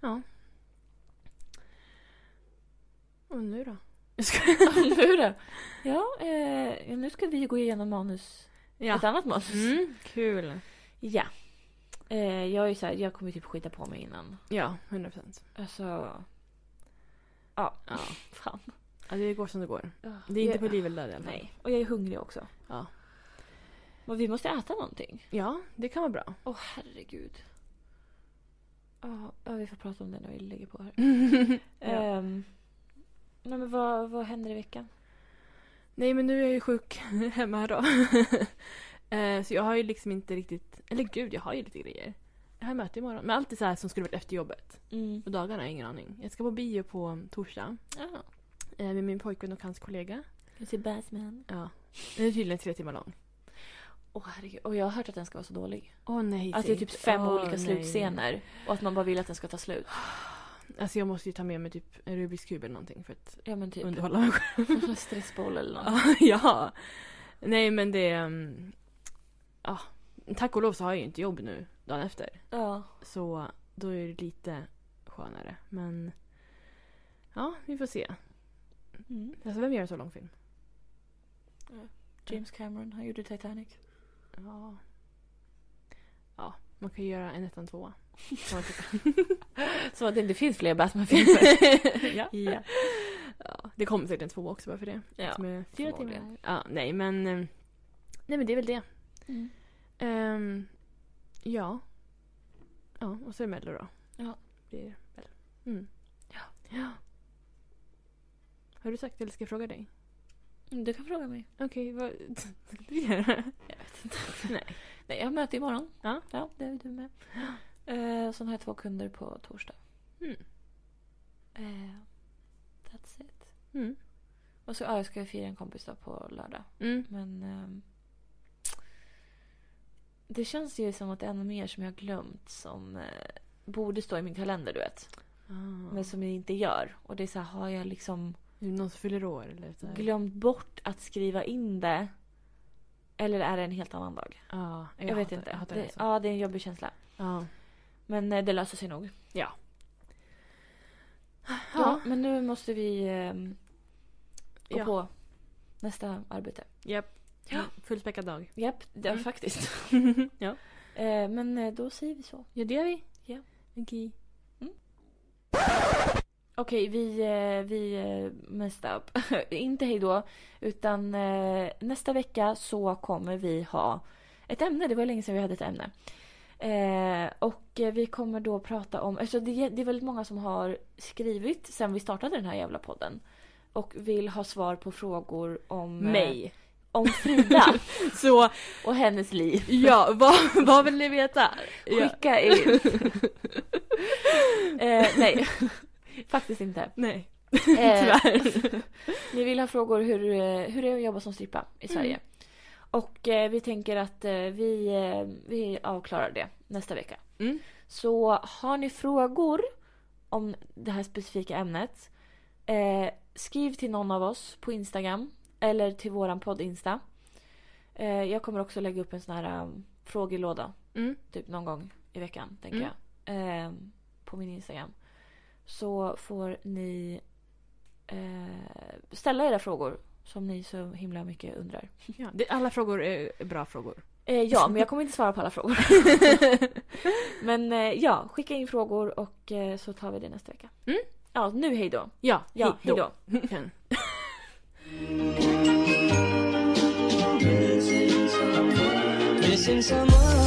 [SPEAKER 2] Ja. Och nu då? Jag skojar.
[SPEAKER 1] nu då? Ja, eh, nu ska vi gå igenom manus. Ett
[SPEAKER 2] Ja.
[SPEAKER 1] annat manus.
[SPEAKER 2] Mm, kul.
[SPEAKER 1] Ja. Eh, jag är ju så här, jag kommer ju typ skita på mig innan.
[SPEAKER 2] Ja, 100 procent.
[SPEAKER 1] Alltså. Ja.
[SPEAKER 2] Ja.
[SPEAKER 1] Fan.
[SPEAKER 2] Ja, det går som det går. Det är inte på
[SPEAKER 1] jag,
[SPEAKER 2] liv eller död i alla fall.
[SPEAKER 1] Nej, och jag är hungrig också.
[SPEAKER 2] Ja.
[SPEAKER 1] Men vi måste äta någonting.
[SPEAKER 2] Ja, det kan vara bra.
[SPEAKER 1] Åh herregud. Ja, ja, vi får prata om det när vi lägger på här.
[SPEAKER 2] Ja.
[SPEAKER 1] Ehm, nej men vad, vad händer i veckan?
[SPEAKER 2] Nej, men nu är jag ju sjuk hemma här då. Eh, så jag har ju liksom inte riktigt... Eller gud, jag har ju lite grejer. Jag har möte imorgon. Men allt är så här som skulle varit efter jobbet.
[SPEAKER 1] Mm.
[SPEAKER 2] Och dagarna har jag ingen aning. Jag ska på bio på torsdag.
[SPEAKER 1] Ja.
[SPEAKER 2] eh, Med min pojkvän och hans kollega.
[SPEAKER 1] Vi ser Batman.
[SPEAKER 2] Ja. Den är tydligen tre timmar lång.
[SPEAKER 1] Åh herregud. Och jag har hört att den ska vara så dålig.
[SPEAKER 2] Åh nej.
[SPEAKER 1] Att det är typ fem
[SPEAKER 2] Åh,
[SPEAKER 1] olika
[SPEAKER 2] nej.
[SPEAKER 1] slutscener och att man bara vill att den ska ta slut.
[SPEAKER 2] Alltså jag måste ju ta med mig typ en Rubiks kub eller någonting för att
[SPEAKER 1] Ja men typ.
[SPEAKER 2] underhålla mig själv.
[SPEAKER 1] Stressboll eller något.
[SPEAKER 2] Ja, ja. Nej men det... um, Ja. Tack och lov så har jag ju inte jobb nu dagen efter.
[SPEAKER 1] Ja.
[SPEAKER 2] Så då är det lite skönare. Men ja, vi får se.
[SPEAKER 1] Mm.
[SPEAKER 2] Alltså vem gör en så lång film?
[SPEAKER 1] James Cameron, han gjorde Titanic.
[SPEAKER 2] Ja. Ja, man kan ju göra en ettan tvåa. Kan man tycka.
[SPEAKER 1] Så att det inte finns fler Batman-filmer.
[SPEAKER 2] ja. ja. Det kommer säkert en tvåa också bara för det.
[SPEAKER 1] ja.
[SPEAKER 2] Som är fyra
[SPEAKER 1] förmodligen.
[SPEAKER 2] timmar. Ja, nej men... um, Nej men det är väl det.
[SPEAKER 1] Mm.
[SPEAKER 2] Ehm, ja. Ja, och så är det Mello då.
[SPEAKER 1] Ja.
[SPEAKER 2] Blir det Mello. Mm.
[SPEAKER 1] Ja.
[SPEAKER 2] ja. Har du sagt eller ska jag fråga dig?
[SPEAKER 1] Du kan fråga mig.
[SPEAKER 2] Okej, vad ska du göra?
[SPEAKER 1] Jag vet inte.
[SPEAKER 2] Nej.
[SPEAKER 1] Nej, jag har möte imorgon.
[SPEAKER 2] Ja.
[SPEAKER 1] Ja, det är du med. Eh, sen har jag två kunder på torsdag.
[SPEAKER 2] Mm.
[SPEAKER 1] Eh, that's it.
[SPEAKER 2] Mm.
[SPEAKER 1] Och så ja, jag ska jag fira en kompis då på lördag.
[SPEAKER 2] Mm.
[SPEAKER 1] Men... ehm, Det känns ju som att det är ännu mer som jag har glömt som eh, borde stå i min kalender, du vet. Men som jag inte gör. Och det är så här, har jag liksom
[SPEAKER 2] Ah. Är det någon som fyller år eller så här?
[SPEAKER 1] glömt bort att skriva in det? Eller är det en helt annan dag?
[SPEAKER 2] Ja,
[SPEAKER 1] Jag, vet
[SPEAKER 2] hatar-
[SPEAKER 1] inte.
[SPEAKER 2] Jag hatar
[SPEAKER 1] det,
[SPEAKER 2] det, alltså.
[SPEAKER 1] ja, det är en jobbig känsla.
[SPEAKER 2] Ja.
[SPEAKER 1] Men eh, det löser sig nog. Ja,
[SPEAKER 2] Ja.
[SPEAKER 1] men nu måste vi eh, gå
[SPEAKER 2] Ja.
[SPEAKER 1] på nästa arbete.
[SPEAKER 2] Japp.
[SPEAKER 1] Ja.
[SPEAKER 2] Fullspäckad dag.
[SPEAKER 1] Japp, det
[SPEAKER 2] Mm.
[SPEAKER 1] faktiskt.
[SPEAKER 2] ja.
[SPEAKER 1] Eh, men eh, då säger vi så.
[SPEAKER 2] Ja, det gör vi.
[SPEAKER 1] Ja.
[SPEAKER 2] Okej.
[SPEAKER 1] Okej, vi, eh, vi eh, messed up. Inte hej då. Utan eh, nästa vecka så kommer vi ha ett ämne. Det var länge sedan vi hade ett ämne. Eh, och eh, vi kommer då prata om... Alltså det, det är väldigt många som har skrivit sen vi startade den här jävla podden. Och vill ha svar på frågor om... eh,
[SPEAKER 2] Mig.
[SPEAKER 1] Om Frida
[SPEAKER 2] Så
[SPEAKER 1] och hennes liv.
[SPEAKER 2] ja, vad, vad vill ni veta? Ja.
[SPEAKER 1] Skicka in. eh, nej, faktiskt inte.
[SPEAKER 2] Nej.
[SPEAKER 1] Eh,
[SPEAKER 2] Tyvärr.
[SPEAKER 1] Ni vill ha frågor hur, eh, hur det är att jobba som strippa i
[SPEAKER 2] Mm.
[SPEAKER 1] Sverige. Och eh, vi tänker att eh, vi, eh, vi avklarar det nästa vecka.
[SPEAKER 2] Mm.
[SPEAKER 1] Så har ni frågor om det här specifika ämnet. Eh, skriv till någon av oss på Instagram. Eller till våran podd Insta. Eh, jag kommer också lägga upp en sån här eh, frågelåda.
[SPEAKER 2] Mm.
[SPEAKER 1] Typ någon gång i veckan tänker
[SPEAKER 2] Mm.
[SPEAKER 1] jag. Eh, på min Instagram. Så får ni eh, ställa era frågor. Som ni så himla mycket undrar.
[SPEAKER 2] Ja, det, alla frågor är bra frågor.
[SPEAKER 1] Eh, ja, men jag kommer inte svara på alla frågor. men eh, ja, skicka in frågor och eh, så tar vi det nästa vecka.
[SPEAKER 2] Mm.
[SPEAKER 1] Ja, nu hej då.
[SPEAKER 2] Ja,
[SPEAKER 1] Ja, hej då.
[SPEAKER 2] Sen.
[SPEAKER 3] missing someone.